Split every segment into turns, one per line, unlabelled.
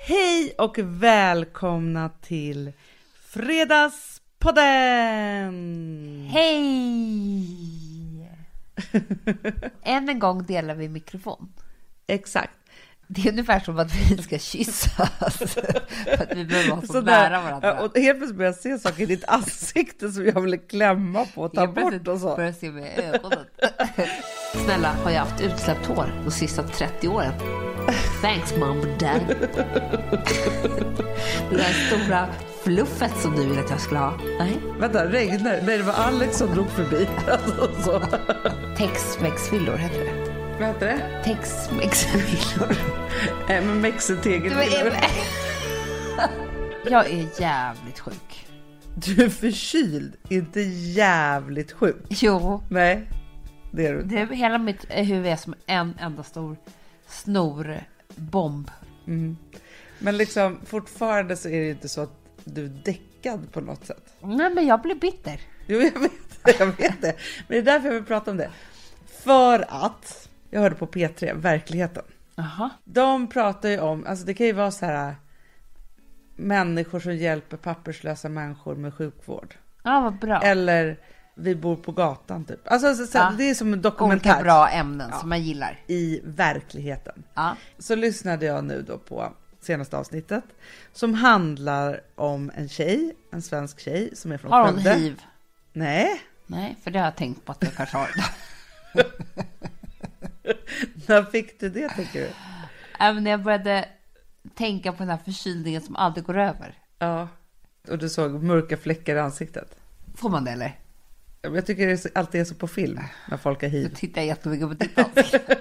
Hej och välkomna till Fredagspodden!
Hej! Än en gång delar vi mikrofon.
Exakt.
Det är ungefär som att vi ska kyssas. För att vi behöver vara så
där.
nära varandra.
Och helt plötsligt börjar jag se saker i ditt ansikte som jag ville klämma på och ta
Helt plötsligt
bort och så.
börjar jag se med ögonen. Snälla, har jag haft utsläppt hår de sista 30 åren? Thanks mom and dad. Det där stora fluffet som du ville att jag skulle ha. Nej.
Vänta, regnar Nej, det var Alex som drog förbi. Alltså, så.
Tex-mex-villor heter det.
Vad heter det?
Tex-mex-villor.
Nej, men mexitegeln.
Du är- Jag är jävligt sjuk.
Du är förkyld, inte jävligt sjuk.
Jo,
Nej, det är du inte.
det, hela mitt eh, huvud är som en enda stor snorbomb.
Men liksom fortfarande så är det ju inte så att du är däckad på något sätt.
Nej, men jag blir bitter.
Jo, jag vet det. Jag vet det. Men det är därför jag vill prata om det. För att jag hörde på P3, verkligheten.
Jaha.
De pratar ju om, alltså det kan ju vara så här människor som hjälper papperslösa människor med sjukvård.
Ja, vad bra.
Eller vi bor på gatan typ. Alltså, alltså så här,
Ja.
det är som en
Olika
dokumentär
bra ämnen som man gillar.
i verkligheten.
Ja.
Så lyssnade jag nu då på senaste avsnittet som handlar om en tjej, en svensk tjej som är från
Har hon
Skövde.
hiv?
Nej,
Nej, för det har jag tänkt på att jag kanske har.
när fick du det tänker du?
Även när jag började tänka på den här förkylningen som aldrig går över.
Ja, och du såg mörka fläckar i ansiktet.
Får man det eller?
Ja, men Jag tycker det är så- alltid är så på film när folk har
Då
hiv.
tittar jag jättemycket på ditt ansikte.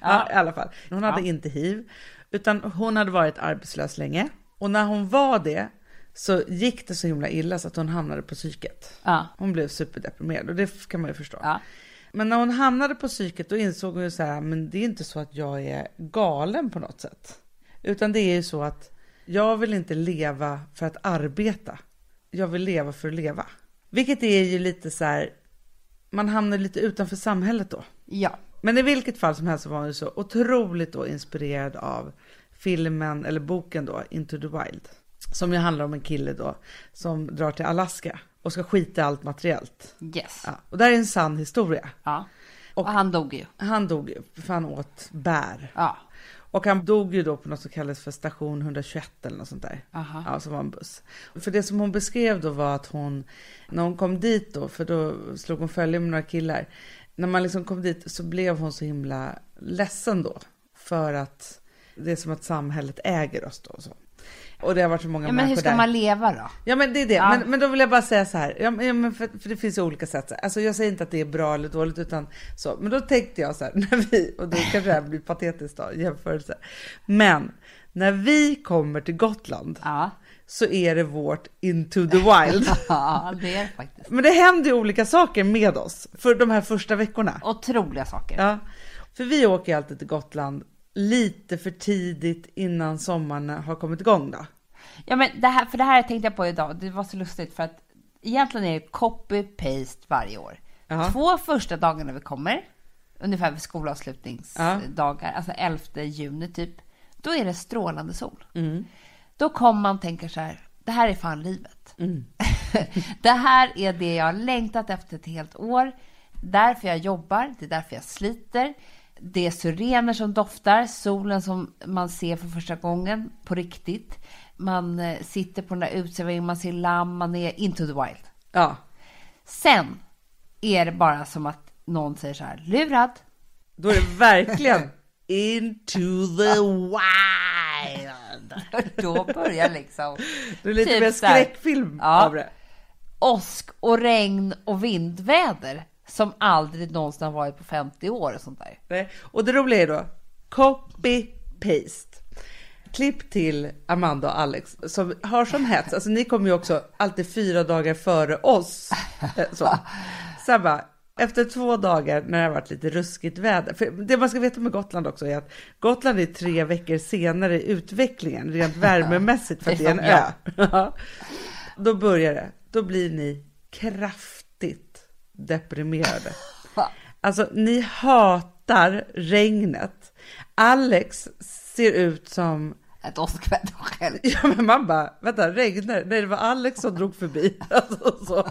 Ja. i alla fall. Hon hade
Ja.
inte hiv, utan hon hade varit arbetslös länge. Och när hon var det så gick det så himla illa så att hon hamnade på psyket.
Ja.
Hon blev superdeprimerad och det f- kan man ju förstå.
Ja.
Men när hon hamnade på psyket då insåg hon ju så här, men det är inte så att jag är galen på något sätt. Utan det är ju så att jag vill inte leva för att arbeta. Jag vill leva för att leva. Vilket är ju lite så här, man hamnar lite utanför samhället då.
ja.
Men i vilket fall som helst så var hon ju så otroligt då inspirerad av filmen, eller boken då, Into the Wild. Som ju handlar om en kille då som drar till Alaska och ska skita i allt materiellt.
Yes.
Ja, och det här är en sann historia.
Ja.
Och-
Och, han dog ju.
Han dog ju, för han åt bär.
Ja.
Och han dog ju då på något som kallades för station 121 eller något sånt där.
Aha.
Ja, som var en buss. För det som hon beskrev då var att hon, när hon kom dit då, för då slog hon följe med några killar. När man liksom kom dit så blev hon så himla ledsen då. För att det är som att samhället äger oss då och så. Och det har varit så många
ja men hur
människor
ska
där.
man leva då?
Ja men det är det,
Ja.
men, men då vill jag bara säga så här, ja, men- ja, men för, för det finns ju olika sätt. Alltså jag säger inte att det är bra eller dåligt utan så, men då tänkte jag så här, när vi, och då kanske det här blir patetiskt då, i jämförelse. Men när vi kommer till Gotland
Ja.
så är det vårt into the wild.
Ja, det är det faktiskt.
men det händer ju olika saker med oss för de här första veckorna.
Otroliga saker.
Ja, för vi åker ju alltid till Gotland lite för tidigt innan sommaren har kommit igång då.
Ja, men det här, för det här tänkte jag på idag. Det var så lustigt för att egentligen är det copy-paste varje år.
Ja.
Två första dagarna vi kommer, ungefär vid skolavslutningsdagar, alltså 11 juni typ, då är det strålande sol. Då kommer man och tänker så här, det här är fan livet. det här är det jag har längtat efter ett helt år. Därför jag jobbar, det är därför jag sliter. Det är syrener som doftar, solen som man ser för första gången på riktigt. Man eh, sitter på den där uteserveringen, man ser lamm, man är into the wild.
Ja,
Sen är det bara som att någon säger så här, lurad.
då är det verkligen into the wild.
Då börjar liksom...
Det är lite
typ
mer
så här,
skräckfilm
ja,
av det.
Åsk och regn och vindväder som aldrig någonsin har varit på 50 år och sånt där.
Nej. Och det roliga är då, copy-paste. Klipp till Amanda och Alex som har som hets, alltså ni kommer ju också alltid fyra dagar före oss. Eh, Så. Sen bara, efter två dagar när det har varit lite ruskigt väder, för det man ska veta med Gotland också är att Gotland är tre veckor senare i utvecklingen rent värmemässigt för att det är en ö. Ja. Då börjar det, då blir ni kraftigt deprimerade. Alltså ni hatar regnet. Alex ser ut som
ett åskväder själv.
Ja, men man bara, vänta, regnar Nej, det var Alex som drog förbi. Alltså, så.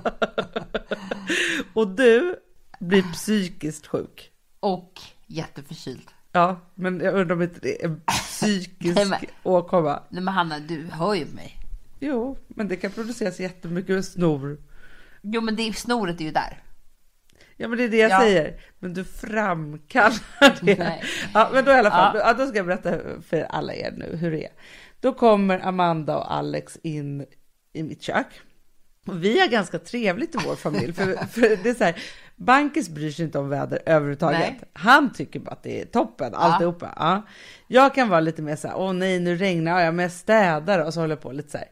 Och du blir psykiskt sjuk.
Och jätteförkyld.
Ja, men jag undrar om inte det är en
Nej,
psykisk
men-
åkomma.
Nej men Hanna, du hör ju mig.
Jo, men det kan produceras jättemycket snor.
Jo men det är, snoret är ju där.
Ja, men det är det jag
Ja.
säger. Men du framkallar det.
Nej.
Ja, men då i alla fall,
Ja.
ja. Då, ska jag berätta för alla er nu hur det är. Då kommer Amanda och Alex in i mitt kök. Och Vi har ganska trevligt i vår familj, för, för det är så här, Bankis bryr sig inte om väder överhuvudtaget.
Nej.
Han tycker bara att det är toppen, alltihopa. Ja. Jag kan vara lite mer så här, åh nej, nu regnar det, ja, men jag städar och så håller jag på lite så här.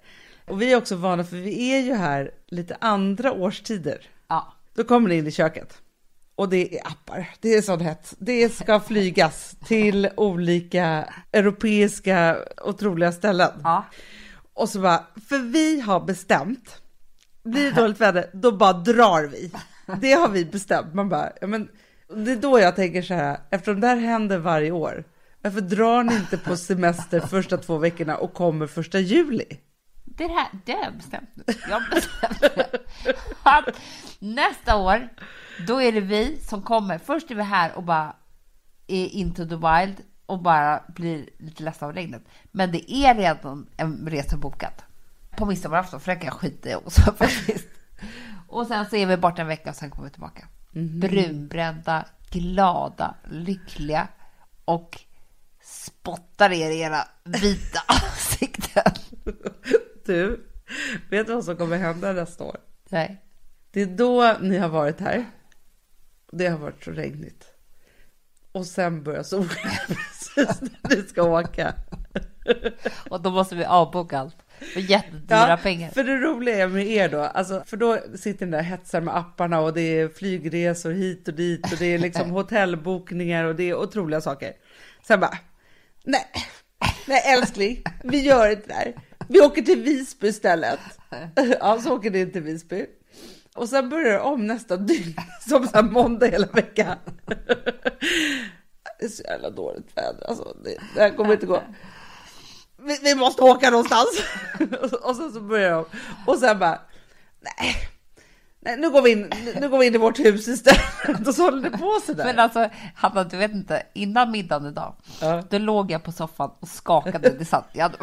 Och vi är också vana, för vi är ju här lite andra årstider.
Ja.
Då kommer det in i köket. Och det är appar, det är sån hett. Det ska flygas till olika europeiska otroliga ställen.
Ja.
Och så bara, för vi har bestämt, blir det dåligt väder, då bara drar vi. Det har vi bestämt. Man bara, ja, men, det är då jag tänker så här, eftersom det här händer varje år, varför drar ni inte på semester första två veckorna och kommer första juli?
Det här, det har jag bestämt nu. Jag har bestämt att nästa år, då är det vi som kommer. Först är vi här och bara är into the wild och bara blir lite ledsna av regnet. Men det är redan en resa bokad. På midsommarafton, för det kan jag skita i också faktiskt. Och sen så är vi borta en vecka och sen kommer vi tillbaka. Brunbrända, glada, lyckliga och spottar er i era vita ansikten.
Du, vet du vad som kommer hända nästa år?
Nej.
Det är då ni har varit här. Det har varit så regnigt. Och sen börjar solen precis när ni ska åka.
Och då måste vi avboka allt. För jättedyra pengar.
För det roliga är med er då, alltså, för då sitter ni där och hetsar med apparna och det är flygresor hit och dit och det är liksom hotellbokningar och det är otroliga saker. Sen bara, nej, nej älskling, vi gör inte det här. Vi åker till Visby istället. Ja, så åker ni till Visby. Och sen börjar det om nästa dygn, som så här måndag hela veckan. Det är så jävla dåligt väder, alltså, det, det här kommer inte gå vi, vi måste åka någonstans. och sen så börjar de. Och sen bara, nej, nej nu, går vi in, nu, nu går vi in i vårt hus istället. och så håller det på sådär.
Men alltså, Hanna, du vet inte, innan middagen idag,
Ja.
då låg jag på soffan och skakade. Det satt, jag hade,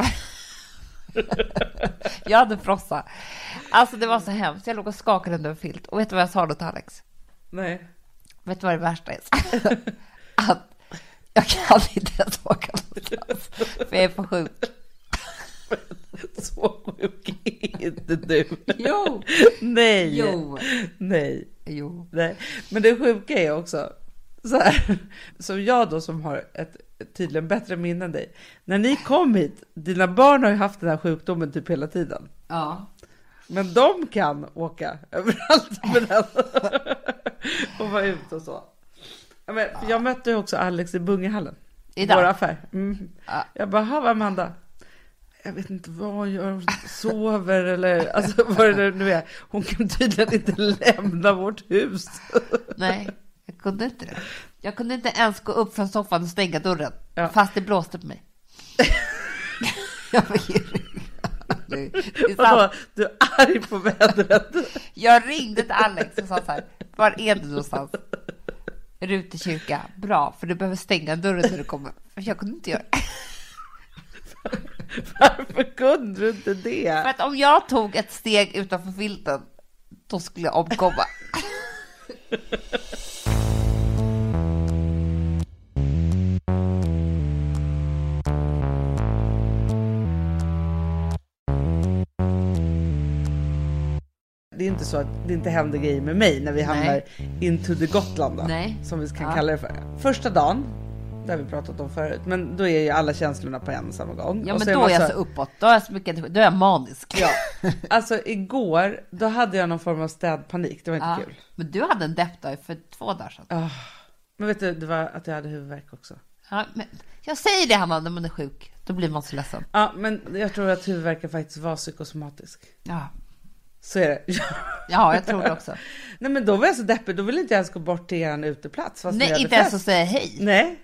jag hade frossa. Alltså det var så hemskt. Jag låg och skakade under en filt. Och vet du vad jag sa då till Alex?
nej.
Vet du vad det värsta är? Att jag kan inte ens åka någonstans. För jag är för sjuk.
Så sjuk är inte du.
Jo!
Nej.
Jo.
Nej.
Jo.
Nej. Men det sjuka är också, så här, som jag då som har ett tydligen bättre minne än dig. När ni kom hit, dina barn har ju haft den här sjukdomen typ hela tiden.
Ja.
Men de kan åka överallt med den. och vara ute och så. Ja, Men för jag mötte ju också Alex i Bungehallen.
Idag?
Vår affär. Mm.
Ja.
Jag bara, "Jaha, vad Amanda. Jag vet inte vad hon gör, hon sover eller alltså, vad det nu är. Hon kan tydligen inte lämna vårt hus.
Nej, jag kunde inte det. Jag kunde inte ens gå upp från soffan och stänga dörren,
Ja.
fast det blåste på mig. jag fick ju ringa. Det- det är sant.
Vadå, du är arg på vädret.
Jag ringde till Alex och sa så här, var är du någonstans? Rute kyrka, bra, för du behöver stänga dörren när du kommer. För jag kunde inte göra det.
Varför kunde du inte det?
För att om jag tog ett steg utanför filten, då skulle jag omkomma.
Det är inte så att det inte händer grejer med mig när vi hamnar
Nej.
into the Gotland då,
Nej.
som vi kan
Ja.
kalla det för. Första dagen, det har vi pratat om förut, men då är ju alla känslorna på en och samma gång.
Ja,
Och
men
så
då är
man
jag så uppåt, då är jag så mycket energi, då är jag manisk.
Ja. Alltså igår, då hade jag någon form av städpanik, det var inte
Ja.
kul.
Men du hade en deppdag för två dagar sedan.
Ah. Men vet du, det var att jag hade huvudvärk också.
Ja, men jag säger det Hanna, när man är sjuk, då blir man så ledsen.
Ja, men jag tror att huvudvärken faktiskt var psykosomatisk.
Ja,
Så är det. Ja.
ja jag tror det också.
Nej men då var jag så deppig, då ville inte jag ens gå bort till er uteplats fast vi
Nej,
hade
inte ens
fest.
att säga hej.
Nej.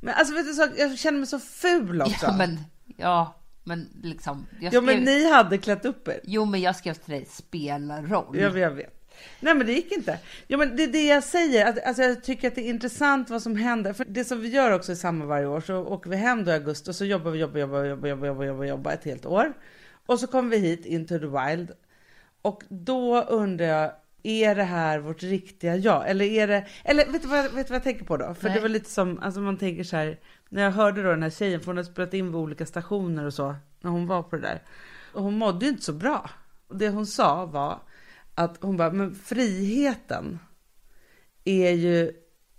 Men alltså vet du, så, jag känner mig så ful också.
Ja, men ja, Men liksom, jag
Ja,
skrev,
men ni hade klätt upp er.
Jo, men jag skrev till dig, spela roll.
Ja, jag vet. Nej, men det gick inte. Ja, men det är det jag säger. Att, alltså, jag tycker att det är intressant vad som händer. För det som vi gör också i samma varje år, så åker vi hem då i augusti och så jobbar vi, jobbar, jobbar, jobbar, jobbar, jobbar, jobbar, jobbar ett helt år. Och så kommer vi hit, into the wild. Och då undrar jag, är det här vårt riktiga jag? Eller är det, eller vet du vad, vet du vad jag tänker på då? För
Nej.
det var lite som, alltså man tänker så här, när jag hörde då den här tjejen, för hon hade spelat in vid olika stationer och så, när hon var på det där. Och hon mådde ju inte så bra. Och det hon sa var att hon bara, men friheten är ju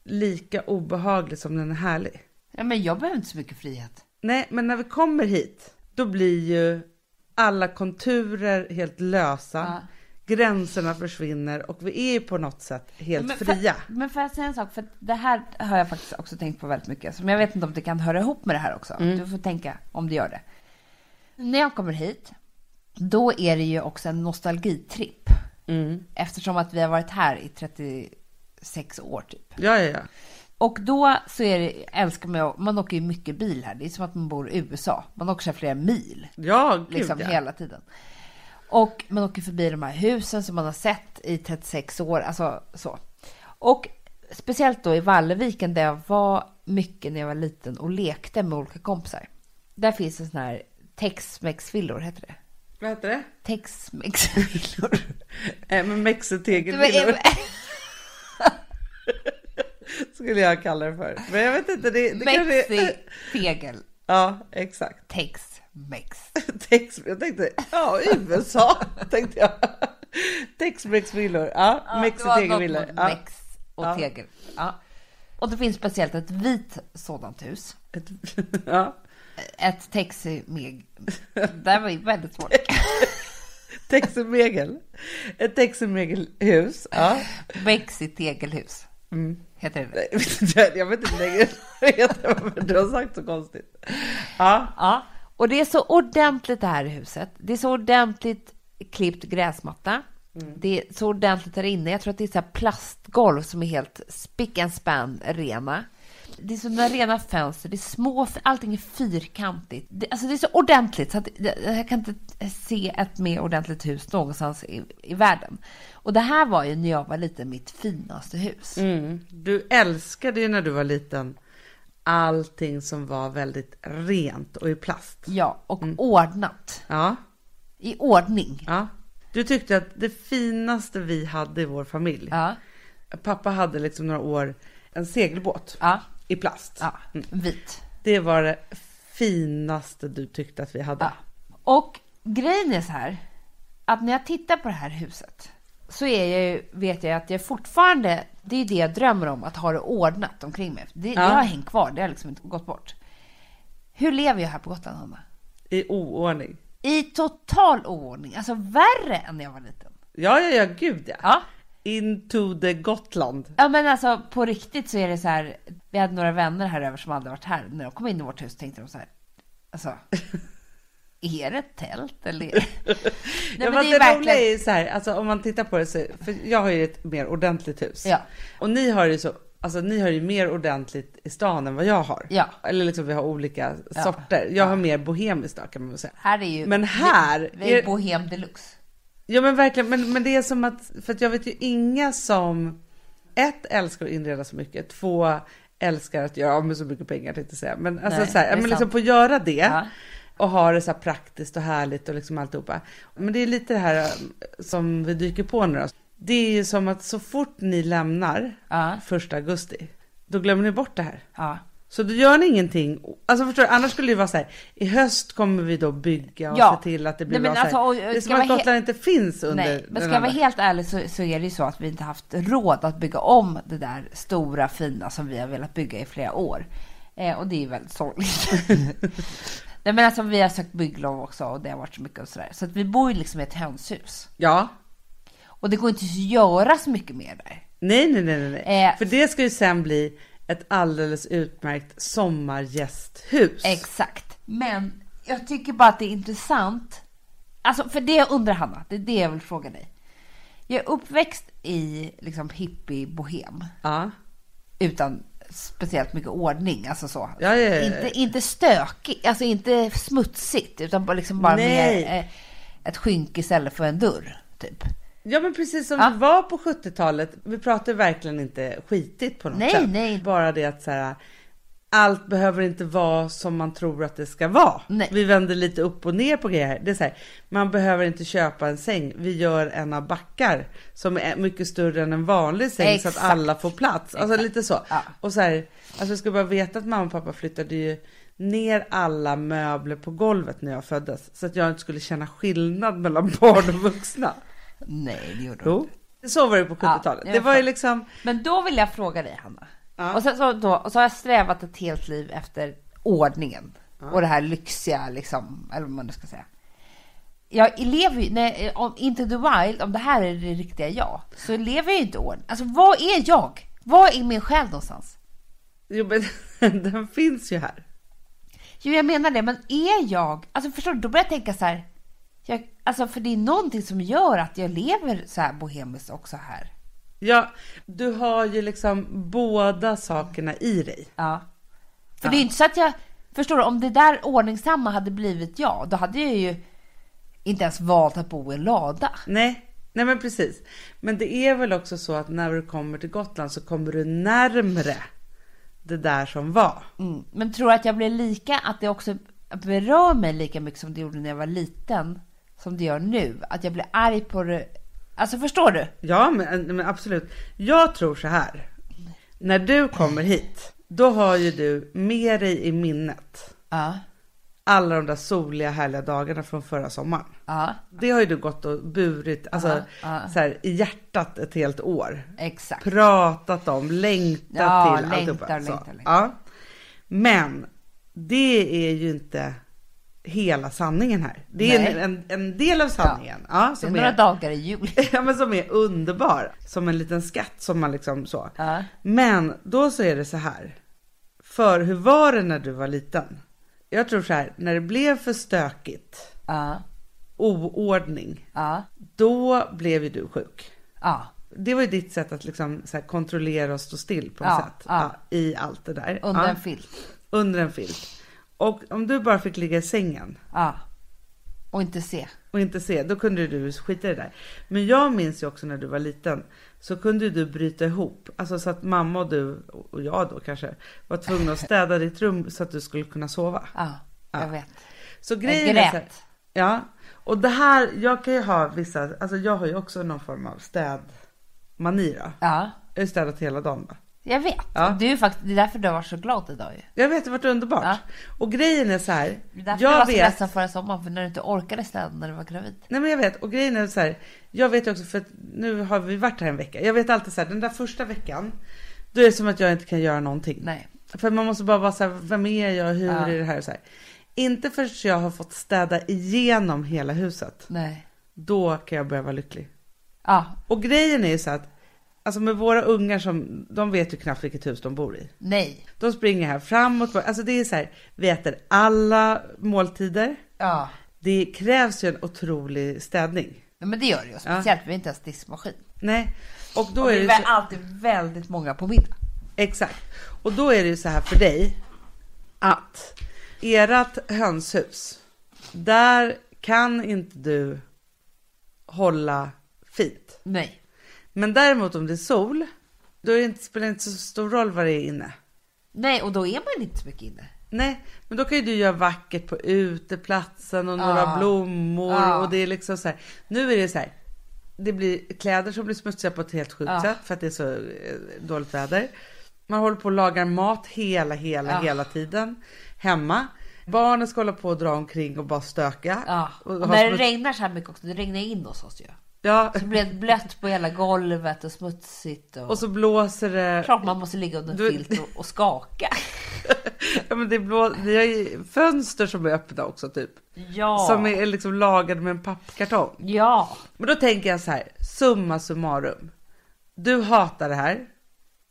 lika obehaglig som den är härlig.
Ja, men jag behöver inte så mycket frihet.
Nej, men när vi kommer hit, då blir ju alla konturer helt lösa.
Ja.
Gränserna försvinner och vi är ju på något sätt helt
men
fria.
För, men får jag säga en sak? För det här har jag faktiskt också tänkt på väldigt mycket. Men jag vet inte om det kan höra ihop med det här också.
Mm.
Du får tänka om det gör det. När jag kommer hit, då är det ju också en nostalgitripp.
Mm.
Eftersom att vi har varit här i 36 år typ.
Ja, ja, ja.
Och då så är det, älskar man ju, man åker ju mycket bil här. Det är som att man bor i USA. Man åker så här flera mil
Ja, gud
liksom
ja.
hela tiden. Och man åker förbi de här husen som man har sett i 36 år, alltså så. Och speciellt då i Valleviken där jag var mycket när jag var liten och lekte med olika kompisar. Där finns en sån här Tex-Mex-villor, heter det?
Vad heter det?
Tex-Mex-villor.
Eh, men
Det var-
mexitegelvillor skulle jag kalla det för. Men jag vet inte, det, det kanske är...
Mexi-tegel.
Ja, exakt.
Tex-Mex.
Tex, jag tänkte, ja, USA tänkte jag. Tex-Mex-villor, ja,
Ja, det var något
mexitegelvillor.
med
Ja.
Mex och
Ja.
tegel. Ja. Och det finns speciellt ett vitt sådant hus.
Ett- ja.
Ett taxi meg. Det här var ju väldigt svårt.
Texelmegel. Ett texelmegelhus. Ja.
Mexi tegelhus
Mm.
heter det.
Nej, jag vet inte- Jag vet inte längre vad det heter, men du har sagt så konstigt. Ja.
Ja, och det är så ordentligt det här huset. Det är så ordentligt klippt gräsmatta. Det är så ordentligt där inne. Jag tror att det är så här plastgolv som är helt spick and span rena. Det är sådana rena fönster, det är små, allting är fyrkantigt. Det, alltså det är så ordentligt så att jag, jag kan inte se ett mer ordentligt hus någonstans i, i världen. Och det här var ju när jag var liten mitt finaste hus.
Mm. Du älskade ju när du var liten allting som var väldigt rent och i plast.
Ja, och ordnat.
Ja.
I ordning.
ja. Du tyckte att det finaste vi hade i vår familj.
Ja,
Pappa hade liksom några år en segelbåt
ja,
i plast.
ja. vit.
Det var det finaste du tyckte att vi hade.
Ja. Och grejen är så här, att när jag tittar på det här huset så är jag, ju- vet jag att jag fortfarande, det är det jag drömmer om, att ha det ordnat omkring mig. Det,
Ja.
det har hängt kvar, det har liksom inte gått bort. Hur lever jag här på Gotland, Hanna?
I oordning.
I total oordning, alltså värre än när jag var liten.
Ja, ja, ja, gud ja.
Ja.
Into the Gotland.
Ja men alltså på riktigt så är det så här, vi hade några vänner här över som aldrig varit här. När de kom in i vårt hus tänkte de så här, alltså, är det ett tält eller? Nej,
Nej, men det roliga är ju så här, alltså, om man tittar på det så, för jag har ju ett mer ordentligt hus.
Ja.
Och ni har ju så, alltså ni har ju mer ordentligt i stan än vad jag har.
Ja.
Eller liksom vi har olika
Ja.
sorter. Jag har mer bohemiskt då kan man väl säga.
Här är ju...
Men här
Vi, vi är
är-
bohem deluxe.
Ja men verkligen, men, men det är som att, för att jag vet ju inga som, ett älskar att inreda så mycket, två älskar att göra av med så mycket pengar tänkte jag säga. Men alltså
Nej,
så här,
det
ja,
är
men liksom
sant.
få göra det.
Ja.
och ha det så här praktiskt och härligt och liksom alltihopa. Men det är lite det här eh, som vi dyker på nu då. Det är ju som att så fort ni lämnar
Ja.
första augusti, då glömmer ni bort det här.
Ja.
Så då gör ni ingenting. Alltså förstår du, annars skulle det vara så här, i höst kommer vi då bygga och
Ja.
se till att det blir
Nej, men
bra så här.
alltså, och- och
Det är
ska
som att
vara he-
Gotland inte finns under
Nej, men
den
ska jag vara
andra.
helt ärlig så, så är det ju så att vi inte haft råd att bygga om det där stora fina som vi har velat bygga i flera år. Eh, och det är ju väldigt sorgligt. Nej men alltså vi har sökt bygglov också och det har varit så mycket och sådär. Så att vi bor ju liksom i ett hönshus.
Ja.
Och det går inte att göra så mycket mer där.
Nej, nej, nej, nej, nej.
Eh.
För det ska ju sen bli ett alldeles utmärkt sommargästhus.
Exakt. Men jag tycker bara att det är intressant. Alltså, för det jag undrar Hanna, det är det jag vill fråga dig. Jag är uppväxt i liksom hippie bohem
ja.
utan speciellt mycket ordning. Alltså så.
Ja, ja, ja.
Inte, inte stökigt, alltså inte smutsigt, utan bara, liksom bara
Nej.
mer eh, ett skynke istället för en dörr. Typ.
Ja men precis som
Ja.
det var på 70-talet. Vi pratar verkligen inte skitigt på något
Nej,
sätt.
nej.
Bara det att så här, allt behöver inte vara som man tror att det ska vara.
Nej.
Vi vänder lite upp och ner på grejer. här. Det är så här, man behöver inte köpa en säng. Vi gör en av backar som är mycket större än en vanlig säng så
Exakt.
att alla får plats. Alltså lite så.
Ja.
Och så här, alltså jag ska bara veta att mamma och pappa flyttade ju ner alla möbler på golvet när jag föddes. Så att jag inte skulle känna skillnad mellan barn och vuxna.
Nej, det gjorde de
Jo. Så var det på 70-talet.
Ja, jag
det var ju
fattar.
liksom,
Men då vill jag fråga dig, Hanna.
Ja.
Och, sen så, då, och så har jag strävat ett helt liv efter ordningen och det här lyxiga, liksom, eller vad man nu ska säga. Jag lever ju, nej, om Into the Wild, om det här är det riktiga jag, så lever jag ju inte ordning. Alltså, vad är jag? Vad är min själ någonstans?
jo men den finns ju här.
Jo, jag menar det, men är jag... Alltså, förstår du? Då börjar jag tänka så här... Jag, alltså, för det är någonting som gör att jag lever så här bohemiskt också här.
Ja, du har ju liksom båda sakerna i dig.
Ja. För det är ju inte så att jag... Förstår du? Om det där ordningsamma hade blivit jag, då hade jag ju inte ens valt att bo i en lada.
Nej, nej men precis. Men det är väl också så att när du kommer till Gotland så kommer du närmre det där som var.
Mm. Men tror du att jag blir lika, att det också berör mig lika mycket som det gjorde när jag var liten, som det gör nu? Att jag blir arg på det... Alltså, förstår du?
Ja, men, men absolut. Jag tror så här. När du kommer hit, då har ju du med dig i minnet
Ja.
alla de där soliga härliga dagarna från förra sommaren.
Ja,
Det har ju du gått och burit alltså,
Ja, ja.
Så här, i hjärtat ett helt år.
exakt.
Pratat om, längtat
Ja,
till.
längtar,
alltihopa.
längtar,
så.
längtar.
Ja. Men det är ju inte hela sanningen här. Det är en,
Nej.
en, en del av sanningen. Ja.
Det är
som,
några
är,
dagar i jul.
ja, men som är underbar. Som en liten skatt som man liksom så.
Ja.
Men då så är det så här. För hur var det när du var liten? Jag tror så här, när det blev för stökigt,
Ja,
oordning.
ja,
då blev ju du sjuk.
ja.
Det var ju ditt sätt att liksom så här kontrollera och stå still på något
Ja,
sätt.
ja.
Ja, I allt det där.
Under
ja,
en filt.
under en filt. Och om du bara fick ligga i sängen
Ja. Och inte se.
och inte se, då kunde ju du skita i det där. Men jag minns ju också när du var liten så kunde ju du bryta ihop. Alltså så att mamma och du, och jag då kanske, var tvungna att städa ditt rum så att du skulle kunna sova.
Ja, jag
Ja.
vet.
Så
Jag
grejen är så här,
grät.
Ja, och det här, jag kan ju ha vissa, alltså jag har ju också någon form av städmani då.
Ja,
Jag har ju städat hela dagen. va?
jag vet.
Ja.
Du är fakt- det är därför du var så glad idag ju.
Jag vet, det har varit underbart.
Ja.
Och grejen är så här.
Det är därför du var
Jag
så
vet,
ledsen förra sommaren, för när du inte orkade städa när du var gravid.
nej men jag vet, och grejen är så här. Jag vet ju också för att nu har vi varit här en vecka. Jag vet alltid så här, den där första veckan, då är det som att jag inte kan göra någonting.
Nej.
För man måste bara vara så här, vem är jag, hur
Ja.
är det här och så här. Inte förrän jag har fått städa igenom hela huset,
Nej.
då kan jag börja vara lycklig.
Ja,
Och grejen är ju så att, alltså med våra ungar som, de vet ju knappt vilket hus de bor i.
nej.
De springer här fram och tillbaka. Alltså det är så här, vi äter alla måltider.
Ja.
Det krävs ju en otrolig städning.
Nej, Men det gör det ju. Speciellt, vi har inte ens diskmaskin.
Nej, och då
Och
är
vi
det
är
ju
väl
så,
alltid väldigt många på middag.
exakt. Och då är det ju så här för dig att ert hönshus, där kan inte du hålla fint.
Nej.
Men däremot om det är sol, då är det inte, spelar det inte så stor roll vad det är inne.
Nej, och då är man inte så mycket inne.
Nej, men då kan ju du göra vackert på uteplatsen och några
Ja.
blommor
Ja.
och det är liksom så här. Nu är det så här. Det blir kläder som blir smutsiga på ett helt sjukt
Ja.
sätt för att det är så eh, dåligt väder. Man håller på och lagar mat hela, hela,
Ja.
hela tiden hemma. Barnen ska hålla på och dra omkring och bara stöka.
Ja.
Och
Och
ha
när det
smuts-
regnar så här mycket också, det regnar in hos oss ju.
ja.
Så blir det blött på hela golvet och smutsigt. Och...
Och så blåser det.
Klart man måste ligga under en
Du-
filt och, och skaka.
Ja, men det blå... Ni har ju fönster som är öppna också typ.
Ja.
Som är liksom lagade med en pappkartong.
Ja.
Men då tänker jag så här, summa summarum. Du hatar det här.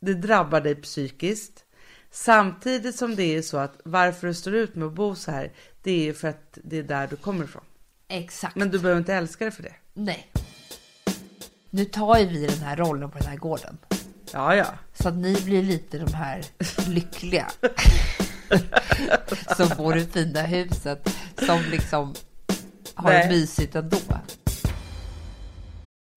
Det drabbar dig psykiskt. Samtidigt som det är så att varför du står ut med att bo så här, det är ju för att det är där du kommer ifrån.
Exakt.
Men du behöver inte älska det för det.
Nej. Nu tar ju vi den här rollen på den här gården.
Ja, ja.
Så att ni blir lite de här lyckliga. som bor i fina huset. Som liksom har
Nej.
det mysigt ändå.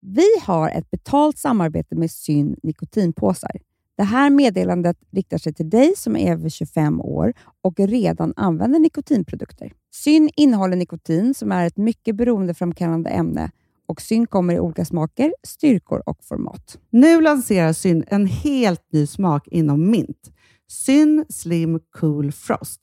Vi har ett betalt samarbete med Syn nikotinpåsar. Det här meddelandet riktar sig till dig som är över 25 år och redan använder nikotinprodukter. Syn innehåller nikotin som är ett mycket beroendeframkallande ämne och Syn kommer i olika smaker, styrkor och format.
Nu lanserar Syn en helt ny smak inom mint. Syn Slim Cool Frost,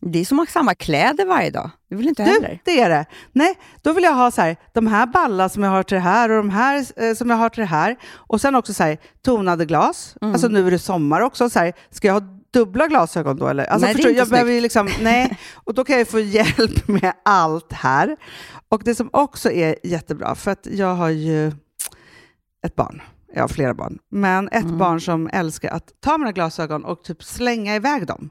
Det är som att ha samma kläder varje dag. Det vill inte jag
Du,
heller.
det är det. Nej, då vill jag ha så här, de här balla som jag har till det här och de här eh, som jag har till det här. Och sen också så här, tonade glas.
Mm.
Alltså nu är det sommar också. Så här, ska jag ha dubbla glasögon då eller? Alltså,
Nej, det är
förstår,
inte
jag behöver ju liksom, nej. Och då kan jag ju få hjälp med allt här. Och det som också är jättebra, för att jag har ju ett barn. Jag har flera barn. Men ett
Mm.
barn som älskar att ta mina glasögon och typ slänga iväg dem.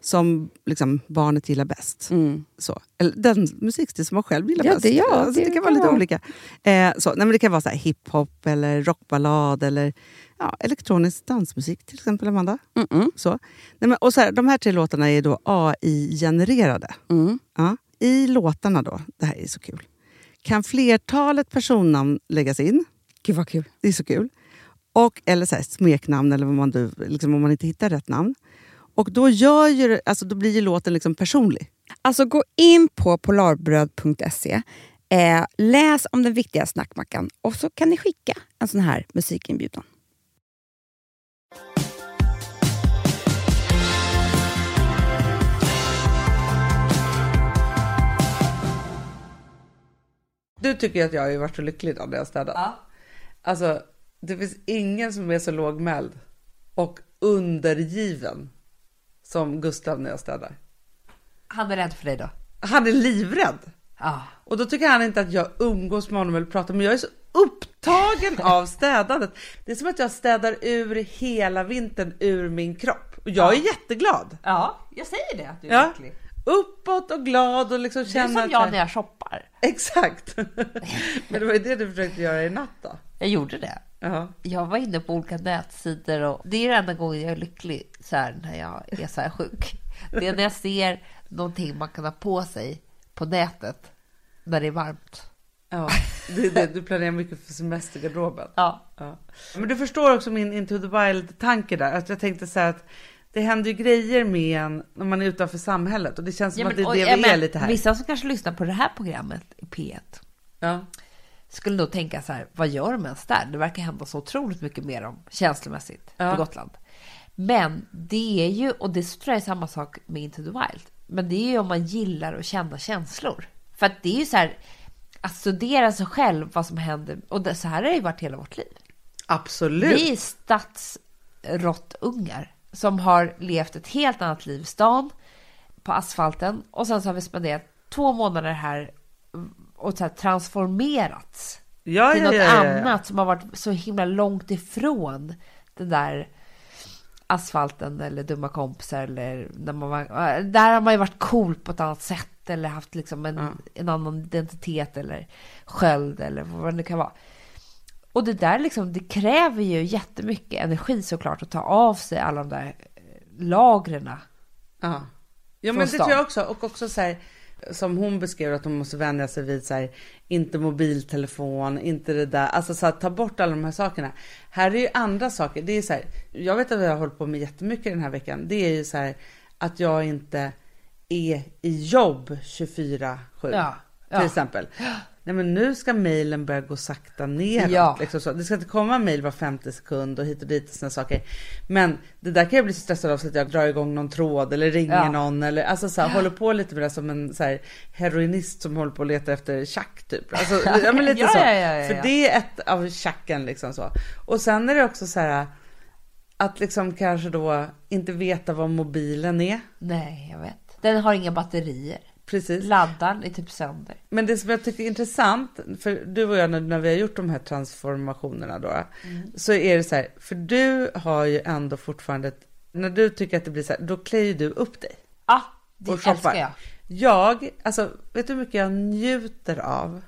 som liksom, barnet gillar bäst.
Mm.
Så. Eller den musikstil som man själv gillar
Ja,
bäst.
det- ja,
alltså, det,
det
kan vara
kan
lite
vara.
olika. Eh, så. Nej, men det kan vara så här hiphop, eller rockballad eller ja, elektronisk dansmusik till exempel, Amanda. Så. Nej, men, och så här, de här tre låtarna är då AI-genererade.
Mm.
Ja. I låtarna då, det här är så kul, kan flertalet personnamn läggas in.
Gud vad kul.
Det är så kul. Och, eller så här, smeknamn, eller vad man, du- liksom, om man inte hittar rätt namn. Och då, gör ju, det- alltså, då blir ju låten liksom personlig.
Alltså gå in på polarbröd.se, eh, läs om den viktiga snackmackan och så kan ni skicka en sån här musikinbjudan.
Du tycker ju att jag har ju varit så lycklig idag när jag har städat. Alltså, det finns ingen som är så lågmäld och undergiven som Gustav när jag städar.
Han är rädd för dig då?
Han är livrädd.
Ja.
Och då tycker han inte att jag umgås med honom eller pratar, men jag är så upptagen av städandet. Det är som att jag städar ur hela vintern ur min kropp. Och jag är jätteglad.
Ja, jag säger det att du är
Ja.
lycklig.
Uppåt och glad och liksom
Det är
känner
som jag när jag shoppar.
Exakt. men det var ju det du försökte göra i natt då.
Jag gjorde det.
Ja.
Jag var inne på olika nätsidor och det är den enda gången jag är lycklig så här, när jag är så här sjuk. Det är när jag ser någonting man kan ha på sig på nätet när det är varmt.
Ja, det, är det, du planerar mycket för semestergarderoben.
Ja.
Ja. Men du förstår också min Into the Wild-tanke där. Att jag tänkte så här att det händer ju grejer med en när man är utanför samhället och det känns som
Ja,
att det är
och-
det
ja,
vi är
men
lite här.
Vissa som kanske lyssnar på det här programmet i P1
Ja.
skulle nog tänka så här, vad gör de ens där? Det verkar hända så otroligt mycket mer om känslomässigt
Ja.
på Gotland. Men det är ju, och det tror jag är samma sak med Into the Wild, men det är ju om man gillar att känna känslor. För att det är ju så här, att studera sig själv, vad som händer, och det, så här har det ju varit hela vårt liv.
Absolut.
Vi är stadsråttungar som har levt ett helt annat liv i stan, på asfalten och sen så har vi spenderat två månader här och så här transformerats
Ja,
till
ja,
något
ja, ja, ja.
annat som har varit så himla långt ifrån den där asfalten eller dumma kompisar eller när man var, där har man ju varit cool på ett annat sätt eller haft liksom en, en annan identitet eller sköld eller vad det nu kan vara. Och det där liksom, det kräver ju jättemycket energi såklart att ta av sig alla de där eh, lagren.
Ja, ja
Från
men det
stan.
tror jag också. Och också så här, som hon beskrev att hon måste vänja sig vid så här, inte mobiltelefon, inte det där. Alltså så här, ta bort alla de här sakerna. Här är ju andra saker. Det är så här, jag vet att jag har hållit på med jättemycket den här veckan. Det är ju så här att jag inte är i jobb 24-7
Ja, ja.
till exempel. Nej men nu ska mailen börja gå sakta neråt.
Ja.
Liksom så. Det ska inte komma mail var femte sekund och hit och dit och såna saker. Men det där kan jag bli så stressad av så att jag drar igång någon tråd eller ringer
Ja.
någon eller alltså så här, håller på lite med det som en så här, heroinist som håller på att leta efter tjack typ. Alltså, ja, men lite
Ja,
så.
ja, ja, ja, ja.
För det är ett av tjacken liksom så. Och sen är det också så här att liksom kanske då inte veta vad mobilen är.
Nej, jag vet. Den har inga batterier.
Precis.
Laddaren är typ sönder.
Men det som jag tycker är intressant, för du och jag när, när vi har gjort de här transformationerna då,
Mm.
så är det så här, för du har ju ändå fortfarande, ett, när du tycker att det blir så här, då klär ju du upp dig.
Ja, Ah, det
och shoppar.
älskar jag.
Jag, alltså vet du hur mycket jag njuter av?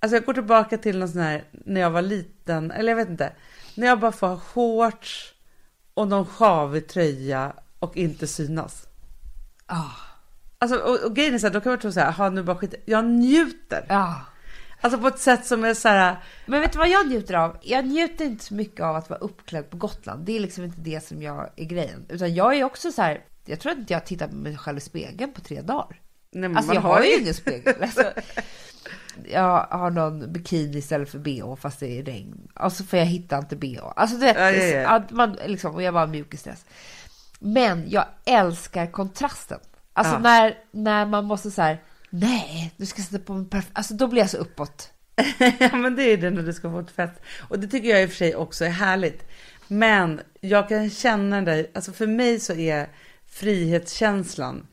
Alltså jag går tillbaka till någon sån här, när jag var liten, eller jag vet inte, när jag bara får ha shorts och någon sjavig tröja och inte synas.
Ah,
Alltså, och, och grejen är så här, då kan man tro så här, "Jaha, nu bara skit Jag njuter.
ja.
Alltså på ett sätt som är så här,
Men vet du vad jag njuter av? Jag njuter inte så mycket av att vara uppklädd på Gotland. Det är liksom inte det som jag är grejen. Utan jag är också så här, jag tror inte jag tittar på mig själv i spegeln på tre dagar.
nej, men
Alltså
Mm, man
jag har ju ingen spegel. Alltså, jag har någon bikini istället för bh fast det är regn. Och så får jag hitta inte bh. Alltså du vet,
Ja, ja, ja.
Att man, liksom, och jag var mjukisdress. Men jag älskar kontrasten. Alltså
Ja.
när, när man måste så här, nej, du ska sätta på mig perfekt. Alltså då blir jag så uppåt.
ja men det är det när du ska få ett fett. Och det tycker jag i och för sig också är härligt. Men jag kan känna dig, alltså för mig så är frihetskänslan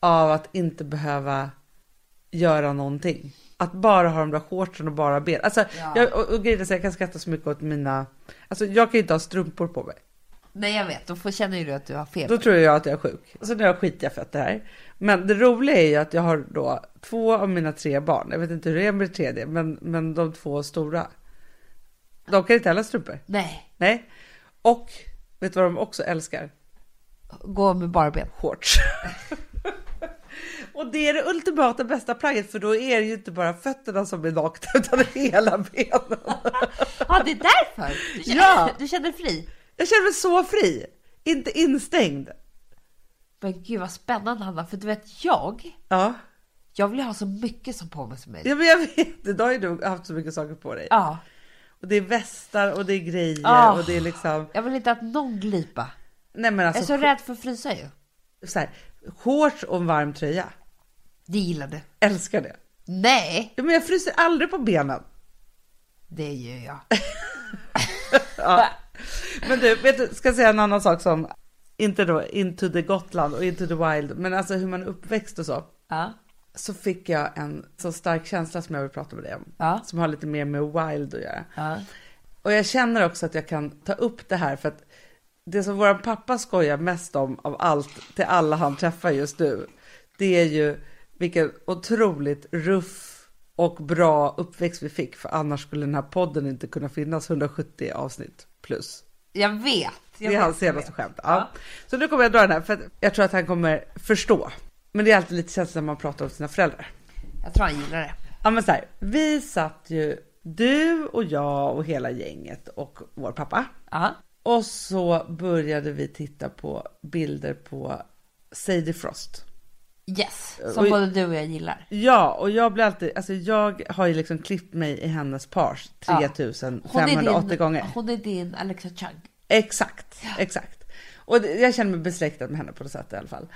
av att inte behöva göra någonting. Att bara ha de där shortsen och bara ben. Alltså,
Ja.
jag, och, och grejen är så här, jag kan skratta så mycket åt mina, alltså jag kan ju inte ha strumpor på mig.
Nej jag vet, då får, känner ju du att du har feber.
Då tror jag att jag är sjuk. Så nu har jag skitiga fötter här. Men det roliga är ju att jag har då två av mina tre barn. Jag vet inte hur det är med det tredje, men, men de två stora. De kan inte heller ha strumpor.
Nej,
Nej. Och vet du vad de också älskar?
gå med bara ben.
Shorts. Och det är det ultimata bästa plagget för då är det ju inte bara fötterna som är nakna utan hela benen.
Ja det är därför! Du känner,
Ja.
du känner dig fri.
Jag känner mig så fri, inte instängd.
Men gud vad spännande Hanna, för du vet jag,
Ja,
jag vill ju ha så mycket som på mig som möjligt.
ja men jag vet. Idag har ju du haft så mycket saker på dig.
Ja.
Och det är västar och det är grejer
Ah.
och det är liksom...
Jag vill inte att någon glipa.
Nej men
Jag är
alltså,
så rädd för att frysa ju.
så här, shorts och en varm tröja.
Det gillar du.
Älskar det.
Nej,
Ja, men jag fryser aldrig på benen.
det gör jag.
Men du, vet du, ska jag säga en annan sak som inte då Into the Gotland och Into the Wild, men alltså hur man är uppväxt och så.
Ja.
Så fick jag en så stark känsla som jag vill prata med dig om.
Ja.
Som har lite mer med Wild att göra.
Ja.
Och jag känner också att jag kan ta upp det här för att det som vår pappa skojar mest om av allt till alla han träffar just nu, det är ju vilken otroligt ruff och bra uppväxt vi fick, för annars skulle den här podden inte kunna finnas 170 avsnitt plus.
Jag vet. Jag
det är
vet,
hans
jag
senaste
vet.
skämt. Ja. Så nu kommer jag dra den här, för att jag tror att han kommer förstå. Men det är alltid lite känsligt när man pratar om sina föräldrar.
Jag tror han gillar det.
Ja men så här, vi satt ju, du och jag och hela gänget och vår pappa.
Ja.
Och så började vi titta på bilder på Sadie Frost.
Yes, som
Och-
både du och jag gillar.
Ja, och jag blir alltid, alltså jag har ju liksom klippt mig i hennes pars
Ja.
3580
din,
gånger.
Hon är din Alexa Chung.
Exakt, exakt. Och det, jag känner mig besläktad med henne på det sättet i alla fall.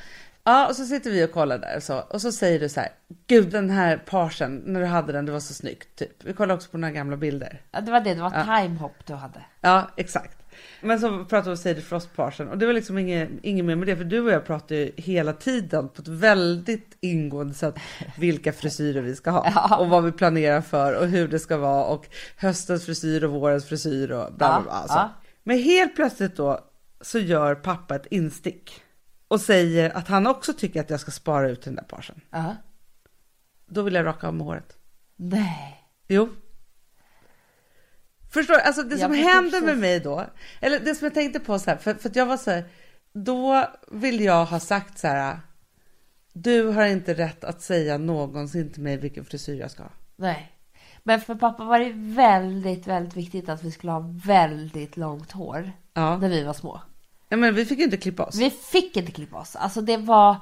Ja, och så sitter vi och kollar där och så, och så säger du så här, gud den här parsen, när du hade den, det var så snyggt, typ. Vi kollar också på några gamla bilder.
Ja, det var det, det var timehop du hade.
Ja, exakt. Men så pratade vi om Sadie Frost-parsen och det var liksom inget, inget mer med det, för du och jag pratade ju hela tiden på ett väldigt ingående sätt vilka frisyrer vi ska ha och vad vi planerar för och hur det ska vara och höstens frisyr och vårens frisyr och bla bla bla.
Ja,
Alltså.
ja.
Men helt plötsligt då så gör pappa ett instick och säger att han också tycker att jag ska spara ut den där parsen.
Ja.
Då vill jag raka av mig håret.
Nej.
Jo. Förstår du? Alltså det
Jag
som
vet
hände
precis.
med mig då, eller det som jag tänkte på så här, för, för att jag var så här, då vill jag ha sagt så här, du har inte rätt att säga någonsin till mig vilken frisyr jag ska ha.
Nej. Men för pappa var det väldigt, väldigt viktigt att vi skulle ha väldigt långt hår
Ja.
när vi var små.
ja men vi fick ju inte klippa oss.
Vi fick inte klippa oss. Alltså det var,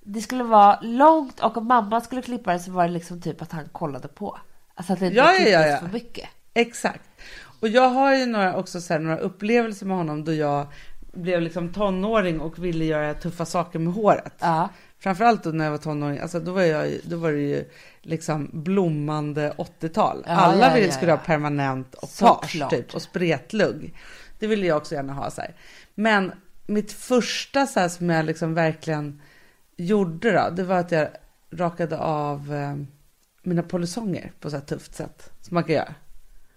det skulle vara långt och om mamma skulle klippa det så var det liksom typ att han kollade på. Alltså att det inte
Ja, ja,
klipptes
ja, ja.
för mycket.
Exakt. Och jag har ju några, också så här, några upplevelser med honom då jag blev liksom tonåring och ville göra tuffa saker med håret.
Ja.
Framförallt då när jag var tonåring, alltså då, var jag, ju- då var det ju liksom blommande 80-tal.
Ja,
Alla
ja,
ville
ja,
skulle
ja.
ha permanent och
Såklart.
page typ, och spretlugg. Det ville jag också gärna ha. Så här. Men mitt första så här, som jag liksom verkligen gjorde då, det var att jag rakade av eh, mina polisonger på så här tufft sätt som man kan göra.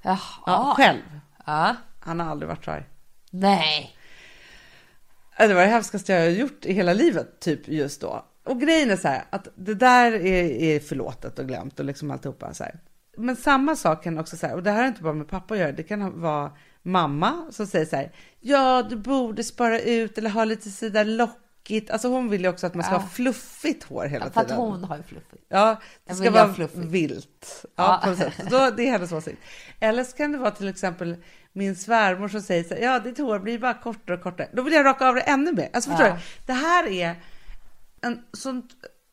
Jaha.
Ja, Själv.
Ja.
Han har aldrig varit så arg.
Nej.
Ja, Det var det hemskaste jag har gjort i hela livet, typ just då. Och grejen är så här, att det där är, är förlåtet och glömt och liksom alltihopa så här. Men samma sak kan också så här, och det här har inte bara med pappa att göra, det kan ha- vara mamma som säger så här, ja du borde spara ut eller ha lite sådär lockigt. Alltså hon vill ju också att man ska
Ja.
ha fluffigt hår hela
För att
tiden.
hon har ju fluffigt.
Ja, det
Jag
ska
vill ha
vara
fluffigt.
vilt.
Ja.
Ja, på något sätt. Så Då, det är hennes åsikt. Eller så kan det vara till exempel min svärmor som säger så här, ja ditt hår blir bara kortare och kortare. Då vill jag raka av det ännu mer. Alltså förstår
Ja.
du? Det här är en sån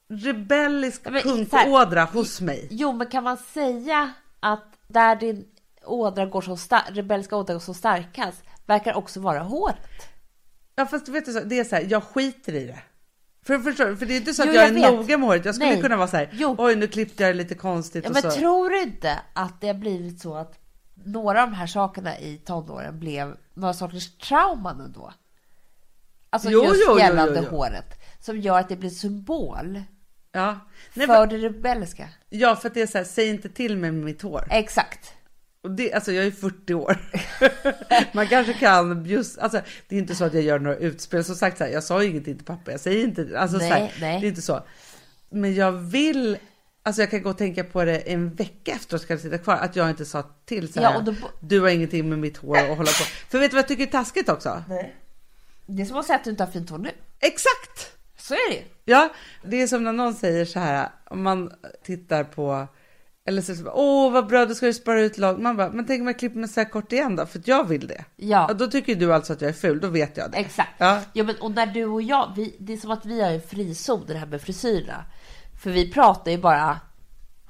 rebellisk
Ja, men så här-
punkådra hos mig.
Jo, men kan man säga att där din ådra går som star- rebelliska ådra går som starkast verkar också vara håret?
Ja fast vet du, så, det är så här, jag skiter i det. För, förstår du? För det är inte så att
Jo,
jag,
jag
är
vet.
noga med håret. Jag skulle
Nej.
kunna vara så här,
Jo.
oj nu klippte jag det lite konstigt.
Ja,
och
men
så.
tror du inte att det har blivit så att några av de här sakerna i tonåren blev några sorters trauman ändå? Alltså
Jo,
just
jo, jo,
gällande
jo, jo.
håret som gör att det blir symbol
ja. Nej,
för
för...
det rebelliska.
ja för att det är så här, säg inte till mig med mitt hår.
Exakt.
Och det, alltså jag är 40 år. Man kanske kan just, alltså det är inte så att jag gör några utspel. Som sagt, så här, jag sa ju ingenting till pappa, jag säger inte, alltså
Nej,
så här,
nej.
det är inte så. Men jag vill, alltså jag kan gå och tänka på det en vecka efteråt, så kan det sitta kvar, att jag inte sa till så här,
Ja, och då-
du har ingenting med mitt hår att hålla på. För vet du vad jag tycker är taskigt också?
Det är som att säga att du inte har fint hår nu.
Exakt!
Så är det ju.
Ja, det är som när någon säger så här, om man tittar på, eller så, så bara, åh vad bra, då ska du spara ut lag. Man bara, men tänk om jag klipper mig så här kort igen då, för att jag vill det.
Ja.
Då tycker du alltså att jag är ful, då vet jag det.
Exakt.
Ja.
Ja, men, och när du och jag, vi, det är som att vi har en frizon det här med frisyrerna. För vi pratar ju bara,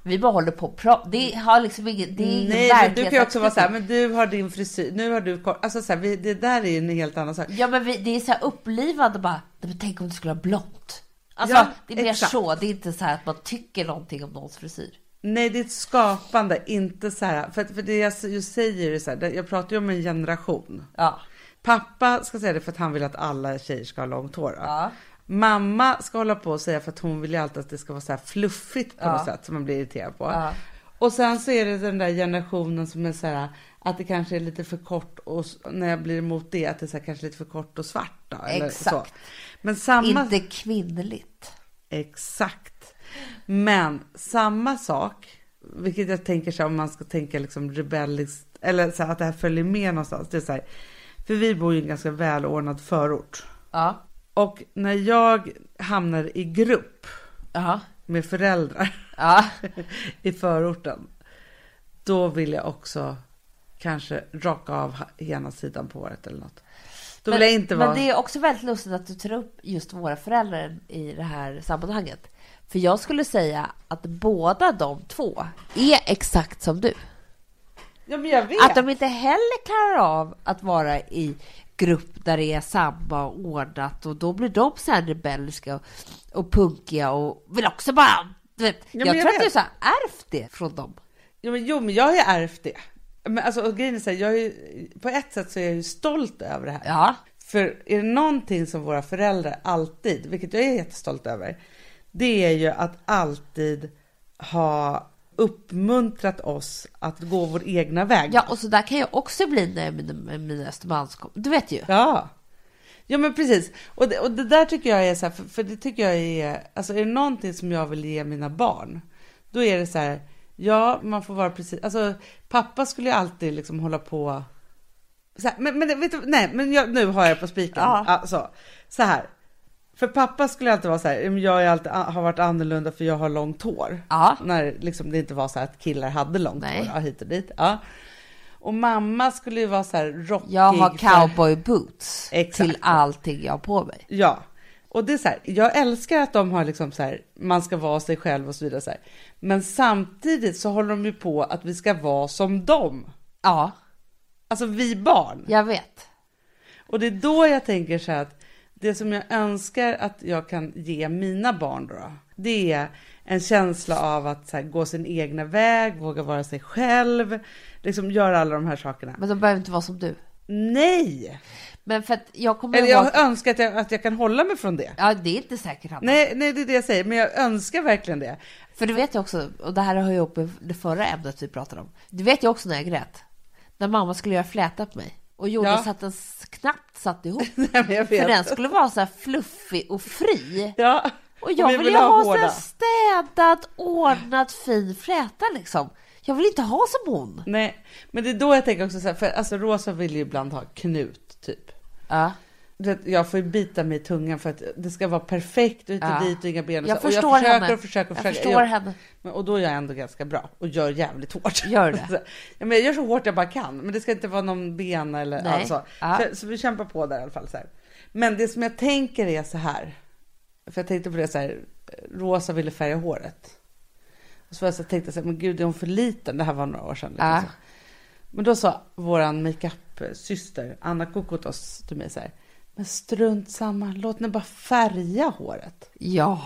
vi bara håller på och pra- Det har liksom ingen, det är ingen
Nej, men du kan ju också vara så här,
verklighetsanknytning.
men du har din frisyr, nu har du kort, alltså så här, vi, det där är ju en helt annan sak.
Ja, men vi, det är så här upplivande bara, "Nej, men tänk om du skulle ha blont. Alltså,
Ja,
det är mer
exakt.
så. Det är inte så här att man tycker någonting om någons frisyr.
Nej, det är ett skapande, inte så här, för, för det jag s- ju säger är så här, det- jag pratar ju om en generation.
Ja.
Pappa ska säga det för att han vill att alla tjejer ska ha långt hår. då. Mamma ska hålla på och säga för att hon vill ju alltid att det ska vara så här fluffigt på något sätt som man blir irriterad på. Och sen så är det den där generationen som är så här att det kanske är lite för kort och s- när jag blir emot det att det är så här, kanske lite för kort och svart då. Eller så.
Exakt.
Men samma...
Inte kvinnligt.
Exakt. Men samma sak, vilket jag tänker så här, om man ska tänka liksom rebelliskt, eller så här, att det här följer med någonstans. Det är så här, för vi bor ju i en ganska välordnad förort.
Ja.
Och när jag hamnar i grupp
Ja.
med föräldrar
Ja.
i förorten, då vill jag också kanske raka av ena sidan på håret eller något. Då vill
men,
jag inte
men
vara...
det är också väldigt lustigt att du tar upp just våra föräldrar i det här sammanhanget. För jag skulle säga att båda de två är exakt som du.
Ja men jag vet!
Att de inte heller klarar av att vara i grupp där det är samma och ordnat och då blir de så här rebelliska och, och punkiga och vill också bara... Du vet,
men
jag tror
jag
att du
vet.
så här ärvt det från dem.
Jo men, jo, men jag har ju ärvt det. Men alltså, och grejen är så här, jag är ju, på ett sätt så är jag ju stolt över det här.
Ja.
För är det någonting som våra föräldrar alltid, vilket jag är jättestolt över, det är ju att alltid ha uppmuntrat oss att gå vår egna väg.
Ja, och så där kan jag också bli när jag är med- med mina Östermalmskompisar. Du vet ju.
Ja. Ja men precis. Och det, och det där tycker jag är så här, för, för det tycker jag är, alltså är det någonting som jag vill ge mina barn, då är det så här, ja man får vara precis, alltså pappa skulle ju alltid liksom hålla på, så här, men, men det- vet du, nej men jag, nu har jag på spiken,
Ja.
alltså, så här. För pappa skulle alltid vara så här, "Men jag är alltid, har varit annorlunda för jag har långt hår.
Ja.
När liksom det inte var så här att killar hade långt
Nej.
hår, ja, hit och dit. Ja. Och mamma skulle ju vara så här rockig.
Jag har
för-
cowboy boots
Exakt.
till allting jag har på mig.
Ja, och det är så här, jag älskar att de har liksom så här, man ska vara sig själv och så vidare. Så här. Men samtidigt så håller de ju på att vi ska vara som dem.
Ja,
Alltså vi barn.
jag vet.
Och det är då jag tänker så här att det som jag önskar att jag kan ge mina barn då, det är en känsla av att så här, gå sin egna väg, våga vara sig själv, liksom göra alla de här sakerna.
Men de behöver inte vara som du.
Nej!
Men för att jag kommer
Eller
ihåg...
jag önskar att jag, att jag kan hålla mig från det.
Ja, det är inte säkert Hanna.
Nej, nej, det är det jag säger, men jag önskar verkligen det.
För du vet ju också, och det här har jag uppe det förra ämnet vi pratade om. Du vet ju också när jag grät. När mamma skulle göra fläta på mig. Och gjorde
Ja.
så att den s- knappt satt ihop.
Nej, men jag vet.
För den skulle vara så här fluffig och fri.
Ja.
Och jag
vi
vill ju
ville
ha, så
hårda.
här städad, ordnad, fin fläta liksom. Jag vill inte ha som hon.
Nej, men det är då jag tänker också så här, för alltså Rosa vill ju ibland ha knut typ.
Ja.
Du vet, Jag får ju bita mig i tungan för att det ska vara perfekt och inte
Ja.
dit och inga ben. Och
Jag
så. och
förstår
jag försöker
henne.
och försöker och
Jag
försöker.
förstår henne.
Men, och då är jag ändå ganska bra och gör jävligt hårt.
Gör det.
Så, ja, men jag gör så hårt jag bara kan, men det ska inte vara någon bena eller
Nej.
alltså.
Ja.
Så, så vi kämpar på där i alla fall. Så här. Men det som jag tänker är så här, för jag tänkte på det så här, Rosa ville färga håret. Och så var jag så här, tänkte jag så här, men gud är hon för liten? Det här var några år sedan. liksom
Ja.
så. Men då sa våran makeup-syster Anna Kokotos till mig så här, men strunt samma, låt henne bara färga håret.
Ja.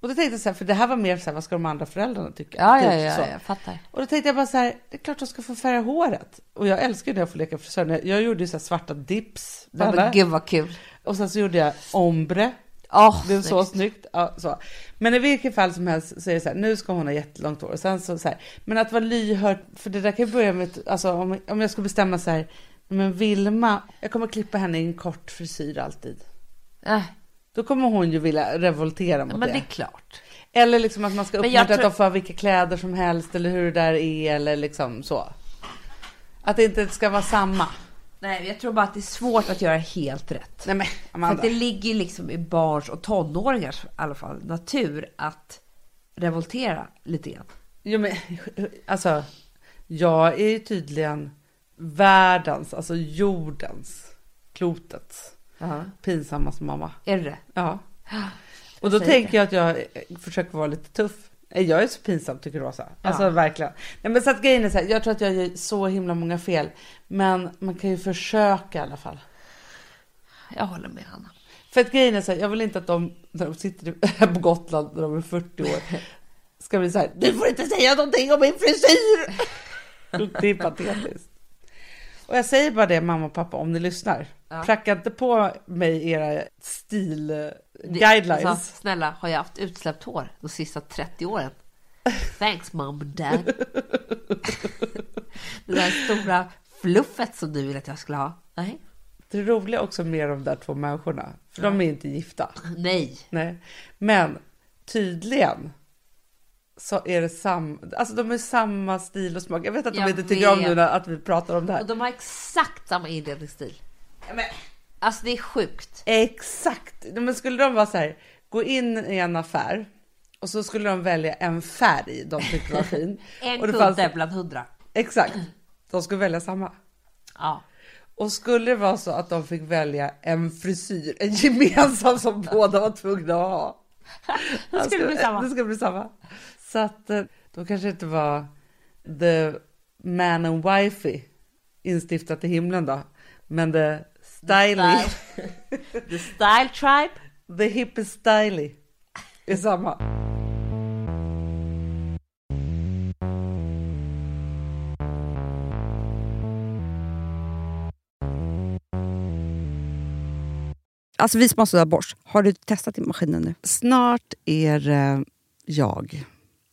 Och då tänkte jag så här, för det här var mer så här, vad ska de andra föräldrarna tycka?
Ja,
Typ
ja, ja,
så.
ja, jag fattar.
Och då tänkte jag bara så här, det är klart de ska få färga håret. Och jag älskar ju när jag får leka frisör. När Jag gjorde ju så här svarta dips. på
Nej,
henne.
men gud vad kul.
Och sen så gjorde jag ombre.
Åh,
Det är så
snyggt.
snyggt. Ja, så. Men i vilket fall som helst så är det så här, nu ska hon ha jättelångt hår. Och sen så, så här, men att vara lyhörd, för det där kan ju börja med, ett- alltså om, om jag skulle bestämma så här, men Vilma, jag kommer klippa henne i en kort frisyr alltid.
Äh,
Då kommer hon ju vilja revoltera mot
men det är klart.
Eller liksom att man ska
Men jag
uppmuntra
tror-
att de får ha vilka kläder som helst eller hur det där är eller liksom så. Att det inte ska vara samma.
Nej, jag tror bara att det är svårt att göra helt rätt.
Nej men
För
Amanda.
att det ligger ju liksom i barns och tonåringars i alla fall natur att revoltera lite grann.
Jo men alltså. Jag är ju tydligen världens, alltså jordens, klotets pinsammaste mamma.
Är det det?
Ja. Och då
säger
tänker jag att jag eh, försöker vara lite tuff. Eh, Jag är så pinsam tycker Rosa. Alltså
Ja.
verkligen. Nej, men så att grejen är så här, jag tror att jag gör så himla många fel. Men man kan ju försöka i alla fall.
Jag håller med Hanna.
För att grejen är så här, jag vill inte att de, när de sitter här på Gotland när de är 40 år, ska bli så här, du får inte säga någonting om min frisyr! Det är patetiskt. Och jag säger bara det mamma och pappa, om ni lyssnar. Pracka inte på mig era eh,
Det-
stilguidelines.
alltså, snälla, har jag haft utsläppt hår de sista 30 åren? Thanks mom and dad. det där stora fluffet som du ville att jag skulle ha. Nej.
Det roliga är också med de där två människorna, för de är inte gifta.
Nej.
Nej. Men tydligen så är det samma, alltså de är samma stil och smak. Jag vet att de
Jag
inte tycker om
vet.
nu när- att vi pratar om det här.
Och de har exakt samma inredningsstil. Alltså det är sjukt.
Exakt! Nej, Men skulle de vara så här, gå in i en affär och så skulle de välja en färg de tyckte var fin.
En
och det
kudde
fanns-
bland hundra.
Exakt, de skulle välja samma.
Ja.
Och skulle det vara så att de fick välja en frisyr, en gemensam som båda var tvungna att ha. Alltså,
Det skulle bli samma.
Det skulle bli samma. Så att eh, då kanske det inte var the man and wifey instiftat i himlen då. Men the styly,
The Style Tribe.
the hippie styly är samma.
Alltså vi som har sådär borst, har du testat i maskinen nu?
Snart är det jag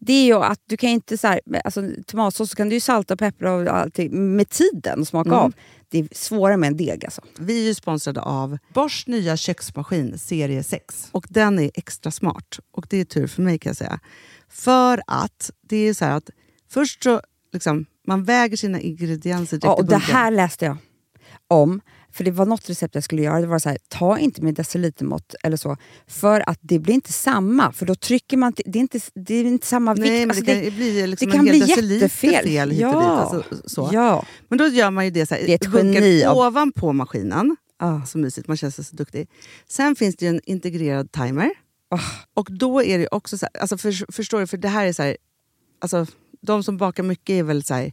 Det är ju att du kan ju inte så här, alltså, tomatsås så kan du ju salta och peppra och allting med tiden och
Mm.
smaka av. Det är svårare med en deg alltså.
Vi är ju sponsrade av Bors nya köksmaskin serie 6. Och den är extra smart. Och det är tur för mig kan jag säga. För att det är så här att först så liksom, man väger sina ingredienser direkt
Ja,
i
och det
bunken.
här läste jag om. För det var något recept jag skulle göra. Det var så här, ta inte med decilitermått eller så. För att det blir inte samma. För då trycker man... inte- Det är inte, det är inte samma vikt.
Nej, men
Alltså,
det kan ju bli liksom
det kan
en hel
bli
deciliter
jättefel.
fel hit och
Ja.
dit. Alltså, så.
Ja.
Men då gör man ju det så här,
Det är ett
bunkar
geni av-
ovanpå maskinen.
Ah.
Så mysigt, man känns så duktig. Sen finns det ju en integrerad timer.
Ah.
Och då är det ju också så här, alltså för, förstår du, för det här är så här, alltså de som bakar mycket är väl så här,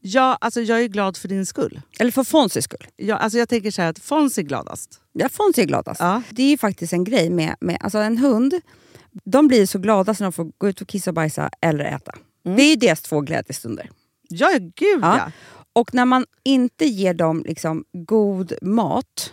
Ja, alltså jag är glad för din skull.
Eller för Fonzys skull.
Jag, alltså jag tänker så här att Fons är gladast.
Ja, Fonzie är gladast.
Ja.
alltså. Det är ju faktiskt en grej med, med alltså en hund. De blir så glada när de får gå ut och kissa och bajsa eller äta. Det är ju deras två glädjestunder.
Ja, gud
Ja.
Mm. ja.
Och när man inte ger dem liksom god mat,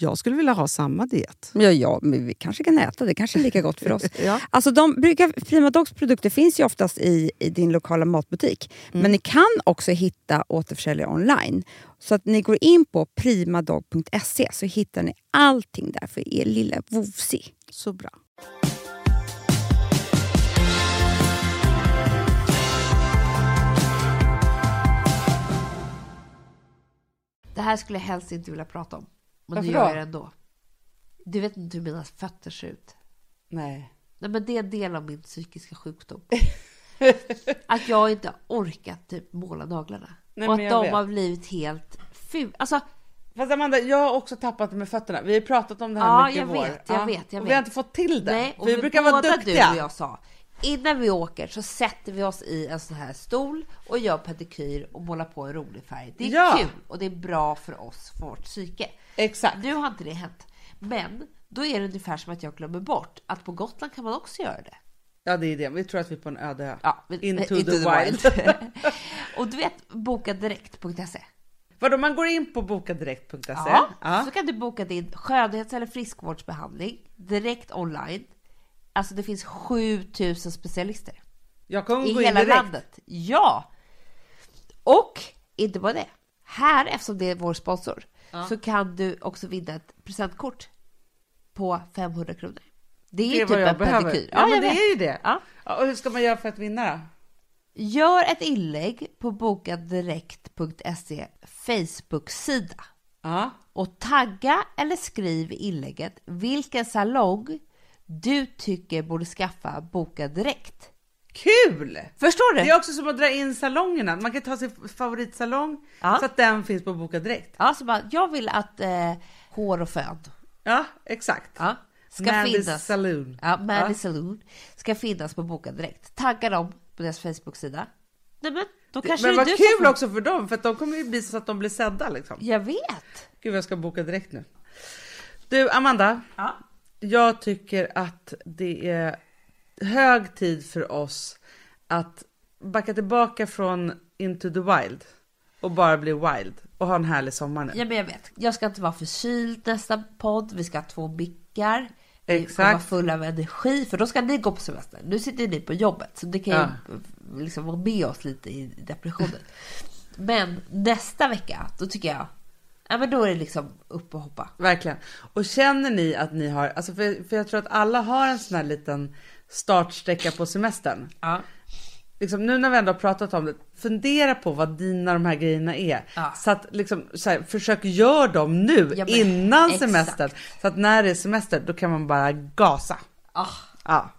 Jag skulle vilja ha samma diet.
ja, ja, men vi kanske kan äta. Det kanske är lika gott för oss.
Ja.
Alltså, de brukar, Prima Dogs produkter finns ju oftast i, i din lokala matbutik. Men ni kan också hitta återförsäljare online. Så att ni går in på primadog.se så hittar ni allting där för er lilla vovsi.
Så bra.
Det här skulle jag helst inte vilja prata om. Men
Varför
nu gör
då?
jag det ändå. Du vet inte hur mina fötter ser ut.
Nej.
Nej, men det är en del av min psykiska sjukdom. att jag inte har orkat typ måla naglarna.
Nej,
och att
men jag
de
vet.
har blivit helt fula. Alltså,
Fast Amanda, jag har också tappat det med fötterna. Vi har pratat om det här
Ja,
mycket
jag
i vår.
vet, jag vet, jag
Och vi har
vet.
inte fått till det.
nej,
för vi
men
brukar vara
båda
duktiga.
du och jag sa, innan vi åker så sätter vi oss i en sån här stol och gör pedikyr och målar på en rolig färg. Det är
Ja.
kul och det är bra för oss, för vårt psyke.
Exakt.
Nu har inte det hänt. Men då är det ungefär som att jag glömmer bort att på Gotland kan man också göra det.
Ja, det är det. Vi tror att vi är på en öde ö.
Ja, men-
into,
into
the, wild.
och du vet, bokadirekt.se.
Vadå, man går in på bokadirekt.se?
Ja,
Ja.
så kan du boka din skönhets eller friskvårdsbehandling direkt online. Alltså det finns 7000 specialister
Jag kommer
i
gå in
hela
direkt.
landet. Ja! Och inte bara det. Här, eftersom det är vår sponsor, så kan du också vinna ett presentkort på 500 kronor. Det är,
Det är
typ
vad jag
en
behöver.
pedikyr.
Ja, men
jag
det
vet.
är ju det.
Ja.
Ja, och hur ska man göra för att vinna då?
Gör ett inlägg på bokadirekt.se Facebook-sida
Ja.
och tagga eller skriv i inlägget vilken salong du tycker borde skaffa Boka Direkt.
Kul!
Förstår du?
Det är också som att dra in salongerna. Man kan ta sin favoritsalong
Ja.
så att den finns på Boka Direkt.
Ja, så bara, jag vill att eh, hår och fön
Ja, exakt.
ja, ska
Mandy's
finnas.
Saloon.
Ja, Mandy
Ja.
Saloon ska finnas på Boka Direkt. Tagga dem på deras Facebook-sida. Nej, men då
Det,
kanske
men
det är
vad
du
kul
som... får-
också för dem, för att de kommer ju bli så att de blir sedda liksom.
Jag vet!
Gud, jag ska boka direkt nu. Du, Amanda.
Ja.
Jag tycker att det är hög tid för oss att backa tillbaka från Into the Wild och bara bli wild och ha en härlig sommar nu.
Ja, men jag vet. Jag ska inte vara förkyld nästa podd. Vi ska ha två mickar. Vi ska
Exakt.
vara fulla av energi, för då ska ni gå på semester. Nu sitter ni på jobbet, så det kan ju eh, liksom vara med oss lite i depressionen. men nästa vecka, då tycker jag, ja men då är det liksom upp och hoppa.
Verkligen. Och känner ni att ni har, alltså för, för jag tror att alla har en sån här liten startsträcka på semestern.
Ja.
liksom, nu när vi ändå har pratat om det, fundera på vad dina de här grejerna är.
Ja.
Så att liksom, så här, försök göra dem nu
Ja, men
innan
exakt.
semestern. Så att när det är semester då kan man bara gasa.
Ah,
Ja.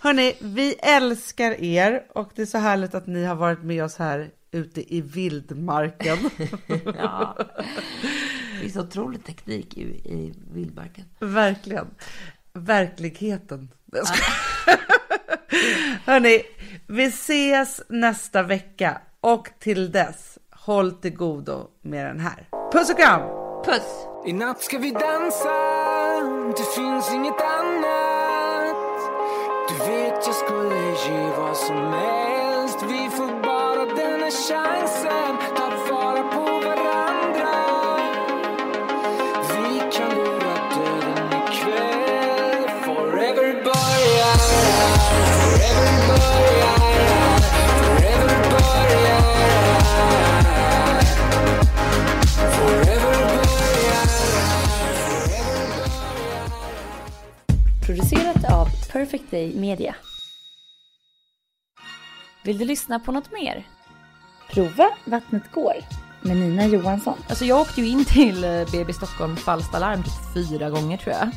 Hörni, vi älskar er och det är så härligt att ni har varit med oss här ute i vildmarken.
ja. Det är så otrolig teknik i, i vildmarken.
Verkligen. Verkligheten. Jag skojar. Hörni, vi ses nästa vecka. Och till dess, håll till godo med den här. Puss och kram!
Puss!
I natt ska vi dansa, det finns inget annat Du vet jag skulle ge vad som helst Vi får bara denna chansen, ta vara på varandra Vi kan lura döden ikväll Forever börjar, forever börjar, forever börjar Forever
producerat av Perfect Day Media. Vill du lyssna på något mer? Prova Vattnet går med Nina Johansson.
Alltså jag åkte ju in till eh, BB Stockholm Falsta larm typ fyra gånger tror jag.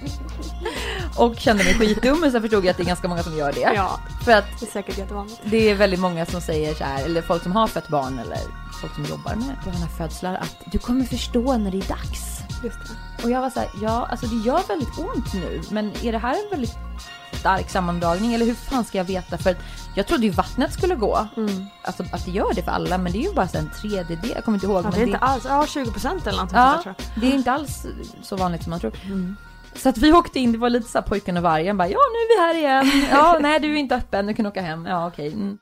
Och kände mig skitdum men sen förstod jag att det är ganska många som gör det.
Ja,
För att
det är säkert jättevanligt.
det är väldigt många som säger så här, eller folk som har fött barn eller folk som jobbar med gröna födslar att du kommer förstå när det är dags.
Just det.
Och jag var så här, ja alltså det gör väldigt ont nu men är det här en väldigt stark sammandragning eller hur fan ska jag veta? För att jag trodde ju vattnet skulle gå. Alltså att det gör det för alla men det är ju bara så här en tredjedel, jag kommer inte ihåg.
Ja,
men
det är inte alls, ja 20 procent eller någonting sånt där,
Ja,
tror jag.
det
Mm.
är inte alls så vanligt som man tror. Så att vi åkte in, det var lite så här pojken och vargen bara ja nu är vi här igen. Ja nej du är inte öppen, du kan åka hem. Ja okej. Mm.